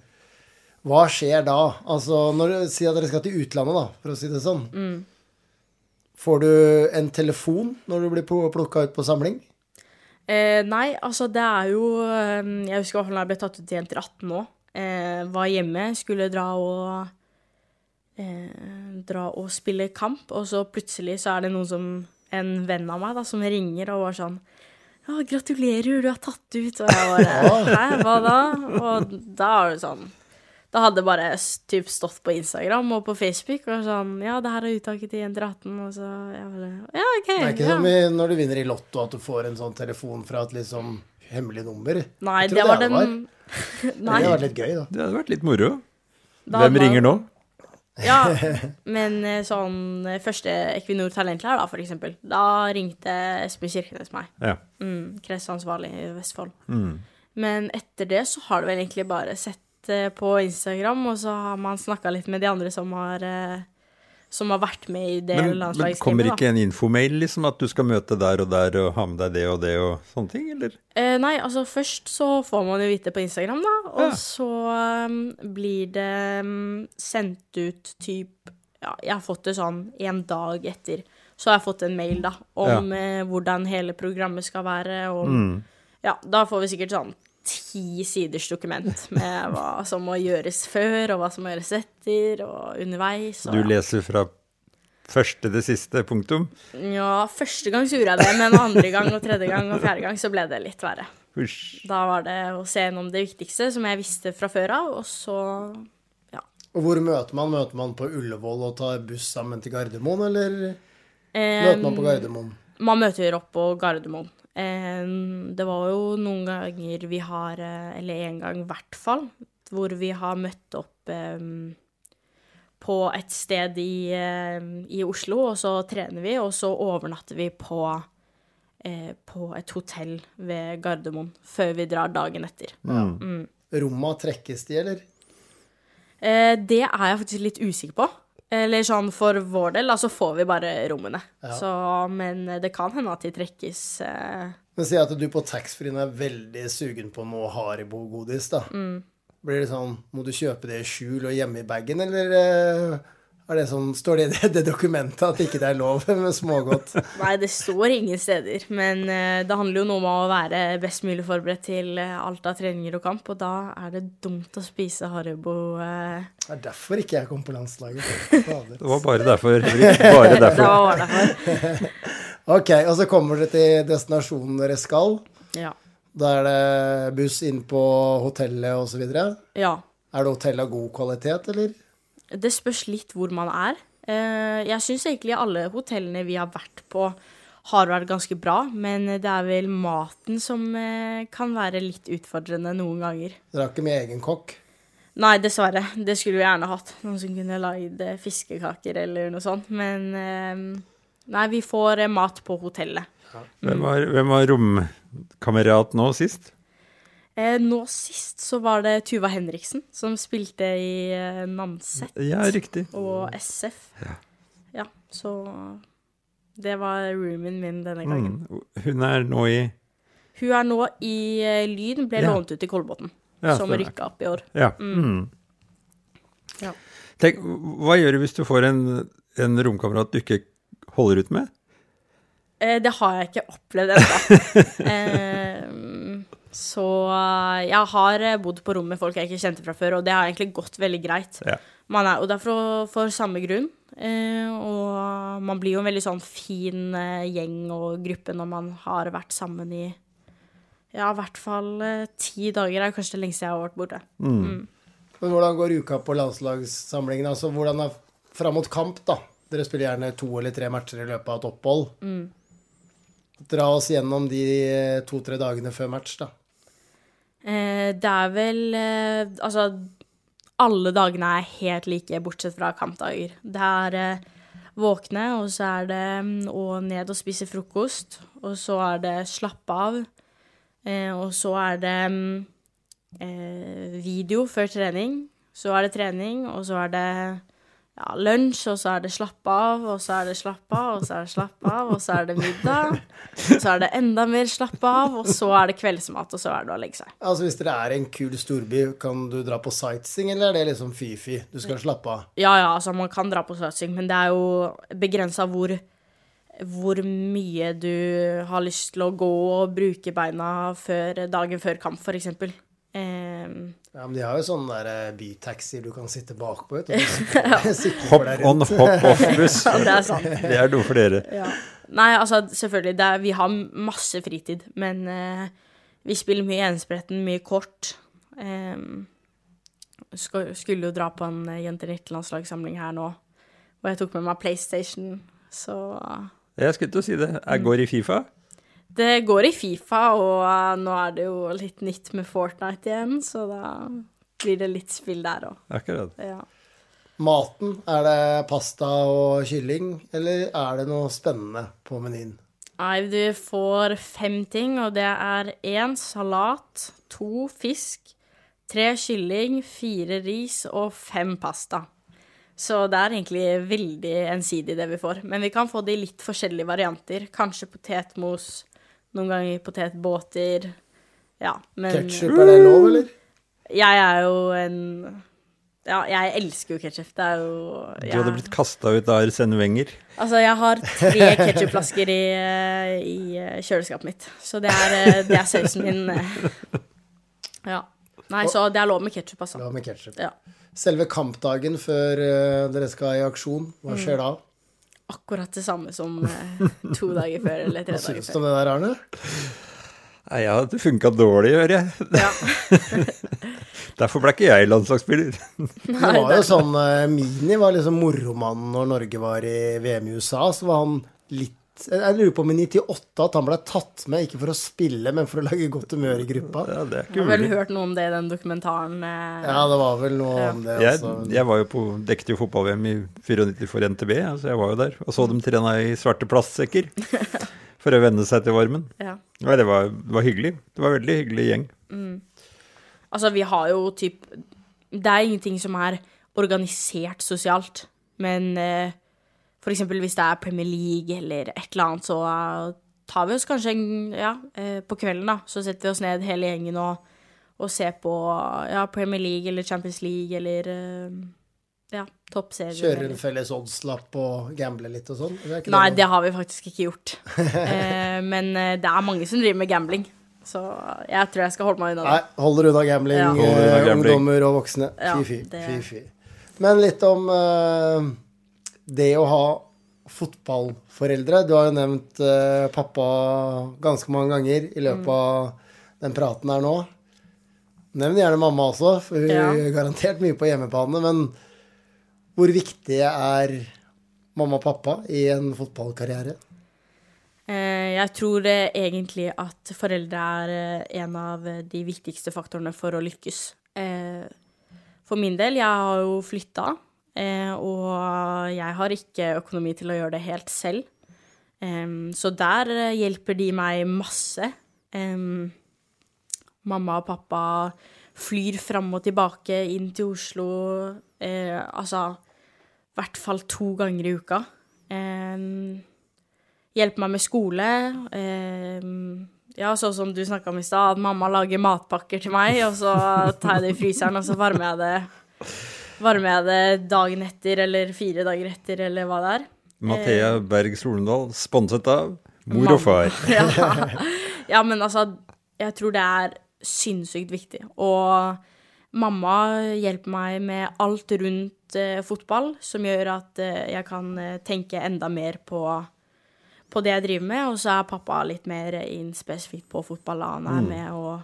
Hva skjer da? Altså, når du sier at dere skal til utlandet, da, for å si det sånn.
Mm.
Får du en telefon når du blir plukka ut på samling?
Eh, nei, altså det er jo eh, Jeg husker i hvert fall da jeg ble tatt ut til jenter 18 nå. Eh, var hjemme, skulle dra og eh, Dra og spille kamp, og så plutselig så er det noen som En venn av meg da, som ringer og var sånn ja, 'Gratulerer, du er tatt ut.' Og jeg bare 'Hæ, hva da?' Og da er det sånn Da hadde det bare s- typ stått på Instagram og på Facebook og sånn 'Ja, det her er uttaket til jenter 18.' Og så jeg bare 'Ja, OK.'
Det er ikke sånn
ja.
som i, når du vinner i Lotto, at du får en sånn telefon fra et liksom hemmelig nummer.
Nei,
Jeg tror
det var den
Det hadde
Nei.
vært litt gøy, da.
Det hadde vært litt moro.
Da
Hvem
var-
ringer nå?
Ja, men eh, sånn eh, første Equinor Talentleir, da, for eksempel. Da ringte Espen Kirkenes meg.
Ja.
Mm, Kretsansvarlig i Vestfold.
Mm.
Men etter det så har du vel egentlig bare sett eh, på Instagram, og så har man snakka litt med de andre som har eh, som har vært med i det
Men, men kommer
landslagsteamet. da.
ikke en infomail, liksom, at du skal møte der og der og ha med deg det og det og sånne ting, eller?
Eh, nei, altså først så får man jo vite på Instagram, da. Og så um, blir det um, sendt ut typ Ja, jeg har fått det sånn en dag etter. Så har jeg fått en mail, da, om eh, hvordan hele programmet skal være. Og ja, da får vi sikkert sånn ti siders dokument med hva som må gjøres før, og hva som må gjøres etter, og underveis. Og,
Du leser fra Første det siste, punktum.
Ja, første gang så gjorde jeg det, men andre gang og tredje gang og fjerde gang så ble det litt verre.
Husj.
Da var det å se gjennom det viktigste, som jeg visste fra før av, og så
Og hvor møter man? Møter man på Ullevål og tar buss sammen til Gardermoen, eller
eh,
møter man på Gardermoen?
Man møter opp på Gardermoen. Eh, det var jo noen ganger vi har, eh, eller en gang i hvert fall, hvor vi har møtt opp eh, på et sted i, eh, i Oslo, og så trener vi, og så overnatter vi på, eh, på et hotell ved Gardermoen før vi drar dagen etter.
Romma trekkes de, eller?
Eh, det er jeg faktisk litt usikker på. Eller sånn for vår del, da, så får vi bare rommene. Så, men eh, det kan hende at de trekkes eh,
Men si at du på taxfree-en er veldig sugen på noe Haribo-godis, da.
Mm.
Blir det sånn Må du kjøpe det i skjul og gjemme i bagen, eller eh, er det sånn, står det i det, det dokumentet at ikke det er lov med smågodt?
Nei, det står ingen steder. Men eh, det handler jo noe om å være best mulig forberedt til eh, alt av treninger og kamp, og da er det dumt å spise Haribo. eh.
Det er derfor ikke jeg kom på landslaget. Fader.
Det var bare derfor. Henrik. Bare
Det
derfor.
var det for.
Ok, og så kommer dere til destinasjonen dere skal.
Ja.
Da er det buss inn på hotellet og så videre.
ja.
Er det hotell av god kvalitet, eller?
Det spørs litt hvor man er. Eh, Jeg syns egentlig alle hotellene vi har vært på, har vært ganske bra, men det er vel maten som eh, kan være litt utfordrende noen ganger.
Dere har ikke med egen kokk?
Nei, dessverre. Det skulle vi gjerne hatt. Noen som kunne lagd eh, fiskekaker eller noe sånt. Men eh, nei, vi får eh, mat på hotellet.
Hvem var, hvem var romkamerat nå sist?
Eh, Nå sist så var det Tuva Henriksen som spilte i eh, Nanset
Ja, riktig.
og SF. Ja, så det var roomien min denne
Mm.
gangen.
Hun er nå i
Hun er nå i eh, Lyn, ble
Ja.
lånt ut til Kolbotn,
Ja,
som
stemmer.
rykka opp i år.
Ja. Mm.
Ja.
Tenk, hva gjør du hvis du får en, en romkamerat du ikke holder ut med?
Eh, Det har jeg ikke opplevd ennå. eh, så eh, jeg har eh, bodd på rom med folk jeg ikke kjente fra før, og det har egentlig gått veldig greit.
Ja.
Man er jo der for, for samme grunn, eh, og man blir jo en veldig sånn fin eh, gjeng og gruppe når man har vært sammen i ja, i hvert fall eh, ti dager er kanskje det lengste jeg har vært borte.
Men hvordan går uka på landslagssamlingen? Altså, hvordan er fram mot kamp, da? Dere spiller gjerne to eller tre matcher i løpet av et opphold. Dra oss gjennom de to-tre dagene før match, da.
Eh, det er vel eh, Altså, alle dagene er helt like, bortsett fra kampdager. Det er eh, våkne, og så er det mm, å ned og spise frokost. Og så er det slappe av. Eh, og så er det mm, eh, video før trening. Så er det trening, og så er det ja, lunsj, og så er det slappe av, og så er det slappe av, og så er det slappe av, og så er det middag. Og så er det enda mer slappe av, og så er det kveldsmat, og så er det å legge seg.
Altså, Hvis dere er i en kul storby, kan du dra på sightseeing, eller er det liksom fy-fy? Du skal slappe av.
Ja, ja, altså man kan dra på satsing, men det er jo begrensa hvor, hvor mye du har lyst til å gå og bruke beina før, dagen før kamp, for eksempel. Ehm,
Ja, men De har jo sånne der eh, bytaxier du kan sitte bakpå. vet du, og sikle- sikle for
Hopp
deg
on,
rundt.
hopp off-buss.
ja, det er sant.
Det er noe for dere.
Nei, altså selvfølgelig, det er, vi har masse fritid, men eh, vi spiller mye enspretten, mye kort. Ehm, sk- skulle jo dra på en eh, jenter 19-landslagssamling her nå, og jeg tok med meg PlayStation, så
Jeg skulle til å si det. Jeg går i Fifa.
Det går i Fifa, og eh, nå er det jo litt nytt med Fortnite igjen, så da blir det litt spill der òg.
Akkurat.
Ja.
Maten, er det pasta og kylling, eller er det noe spennende på menyen?
Nei, du får fem ting, og det er én salat, to fisk, tre kylling, fire ris og fem pasta. Så det er egentlig veldig ensidig, det vi får. Men vi kan få det i litt forskjellige varianter. Kanskje potetmos, noen ganger potetbåter. Ja, men
Ketsjup, er det lov, eller?
Jeg er jo en Ja, jeg elsker jo ketsjup. Det er jo
Du
jeg,
hadde blitt kasta ut av Arsene Wenger.
Altså, jeg har tre ketsjupflasker i, eh, i eh, kjøleskapet mitt. Så det er, eh, det er sausen min. eh. Ja. Nei, så det er lov med ketsjup, altså.
Lov med ketsjup.
Ja.
Mm. Selve kampdagen før eh, dere skal i aksjon, hva skjer da?
akkurat det samme som eh, to dager før eller tre
Hva
dager
syns du
før.
om det der, Arne?
Nei, ja, det funka dårlig, hører jeg. Derfor ble ikke jeg landslagsspiller.
Det var jo sånn eh, Mini var liksom moromannen når Norge var i VM i USA. Så var han litt Jeg lurer på om i 98 at han ble tatt med, ikke for å spille, men for å lage godt humør i gruppa.
Ja, det er
Jeg
ikke
har vel
mulig.
hørt noe om det i den dokumentaren. eh,
Ja, det var vel noe om det
Jeg,
også.
jeg var jo på, dekket jo fotball-VM i 94 for NTB, ja, så jeg var jo der. Og så dem trena i svarte plastsekker for å venne seg til varmen.
ja.
Nei, det var, det var hyggelig. Det var en veldig hyggelig gjeng.
Eh. Altså, vi har jo typ Det er ingenting som er organisert sosialt, men eh, for eksempel hvis det er Premier League eller et eller annet, så eh, tar vi oss kanskje en Ja, eh, på kvelden, da, så setter vi oss ned hele gjengen og, og ser på ja, Premier League eller Champions League eller eh, ja, toppserien.
Kjøre
eller-
en felles oddslapp og gamble litt og sånn. Det er ikke
Nei,
noe-
det har vi faktisk ikke gjort. Eh, men eh, det er mange som driver med gambling, så jeg tror jeg skal holde meg unna det.
Nei, hold dere unna gambling,
Ja.
Hold dere unna
eh,
gambling.
ungdommer og voksne.
Ja,
Fy, fy,
det-
fy, fy. Men litt om eh, det å ha fotballforeldre. Du har jo nevnt eh, pappa ganske mange ganger i
Mm.
løpet av den praten her nå. Nevn gjerne mamma også, for hun
Ja.
er garantert mye på hjemmebane. Men hvor viktig er mamma og pappa i en fotballkarriere?
Eh, Jeg tror eh, egentlig at foreldre er eh, en av de viktigste faktorene for å lykkes. Eh, For min del, jeg har jo flytta, eh, og jeg har ikke økonomi til å gjøre det helt selv. Em, Så der eh, hjelper de meg masse. Em, Mamma og pappa flyr fram og tilbake inn til Oslo. eh, Altså i hvert fall to ganger i uka. Em, hjelpe meg med skole. Eh, ja, sånn som du snakka om i stad, at mamma lager matpakker til meg, og så tar jeg det i fryseren, og så varmer jeg det, varmer jeg det dagen etter eller fire dager etter, eller hva det er.
Mathea Berg Solendal, sponset av mor
Mamma.
og far.
ja. ja, men altså, jeg tror det er sinnssykt viktig. Og mamma hjelper meg med alt rundt eh, fotball, som gjør at eh, jeg kan eh, tenke enda mer på, på det jeg driver med. Og så er pappa litt mer inn spesifikt på fotball. da.
Mm.
Han er, med og,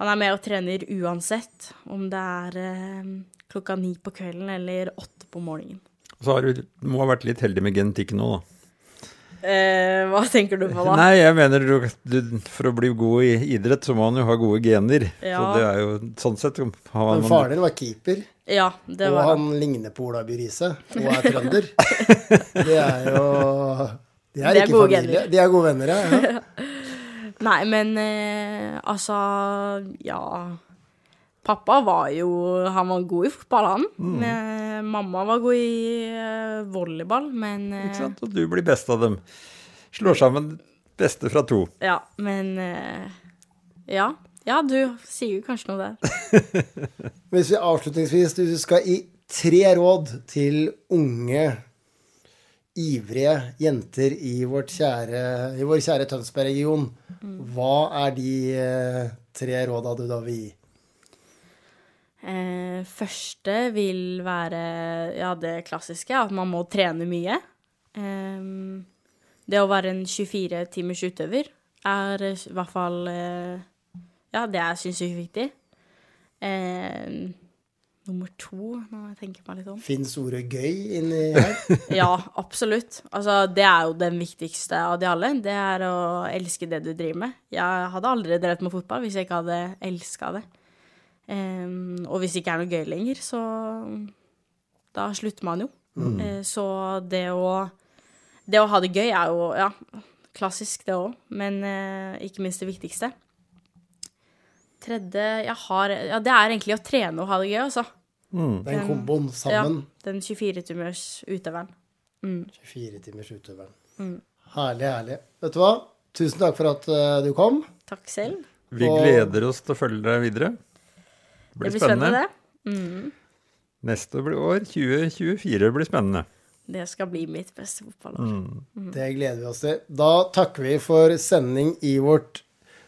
han er med og trener uansett om det er eh, klokka ni på kvelden eller åtte på morgenen.
Og så har du, du må ha vært litt heldig med genetikken nå, da.
Eh, hva tenker du på da?
Nei, jeg mener du, du, for å bli god i idrett, så må han jo ha gode gener. Så
Ja.
det er jo sånn sett har man-
Men faren din var keeper.
Ja, det
Og
var
han ligner på Ola By Riise, og er trønder. Det er jo De er,
Det er
ikke
gode
familie.
venner.
De er gode venner, ja. ja.
Nei, men eh, altså Ja. Pappa var jo Han var god i fotball, han.
Mm.
Men, eh, mamma var god i eh, volleyball, men eh,
Ikke sant? Og du blir best av dem. Slår sammen beste fra to.
Ja, men eh, Ja. Ja, du sier jo kanskje noe der.
Hvis vi avslutningsvis du skal i tre råd til unge, ivrige jenter i, vårt kjære, i vår kjære Tønsberg-region,
Mm.
hva er de eh, tre råda du da vil gi?
Eh, første vil være ja, det klassiske, at man må trene mye. Eh, det å være en 24-timers utøver er eh, i hvert fall eh, Ja, det er sinnssykt viktig. Eh, nummer to, nå må jeg tenke meg litt om.
Fins ordet gøy inni her?
Ja, absolutt. Altså, det er jo den viktigste av de alle. Det er å elske det du driver med. Jeg hadde aldri drevet med fotball hvis jeg ikke hadde elska det. Em, og hvis det ikke er noe gøy lenger, så da slutter man jo. Eh, så det å Det å ha det gøy er jo ja, klassisk, det òg, men eh, ikke minst det viktigste. Tredje jeg har Ja, det er egentlig å trene og ha det gøy, altså.
Den komboen
Ja,
sammen.
den 24-timers utøveren.
24 timers utøveren.
Mm.
Herlig, herlig. Vet du hva? Tusen takk for at eh, du kom.
Takk selv.
Vi
Og-
gleder oss til å følge deg videre. Det blir,
Det blir
spennende.
spennende,
Neste år, 2024, blir spennende.
det. Det skal bli mitt beste fotballår.
Det gleder vi oss til. Da takker vi for sending i vårt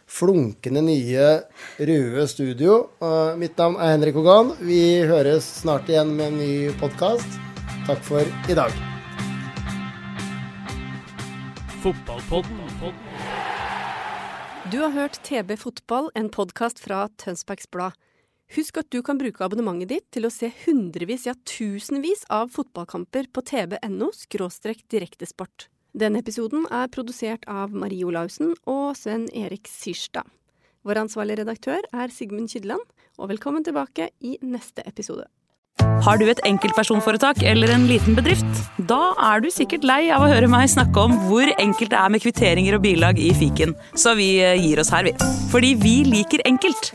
flunkende nye røde studio. Eh, Mitt navn er Henrik Hogan. Vi høres snart igjen med en ny podkast. Takk for i dag.
Fotballpodden.
Du har hørt TB Fotball, en podkast fra Tønsbergs Blad. Husk at du kan bruke abonnementet ditt til å se hundrevis, ja tusenvis av fotballkamper på tb.no direktesport. Denne episoden er produsert av Marie Olaussen og Sven Erik Syrstad. Vår ansvarlige redaktør er Sigmund Kydland, og velkommen tilbake i neste episode.
Har du et enkeltpersonforetak eller en liten bedrift? Da er du sikkert lei av å høre meg snakke om hvor enkelt det er med kvitteringer og bilag i fiken, så vi eh, gir oss her, vi. Fordi vi liker enkelt.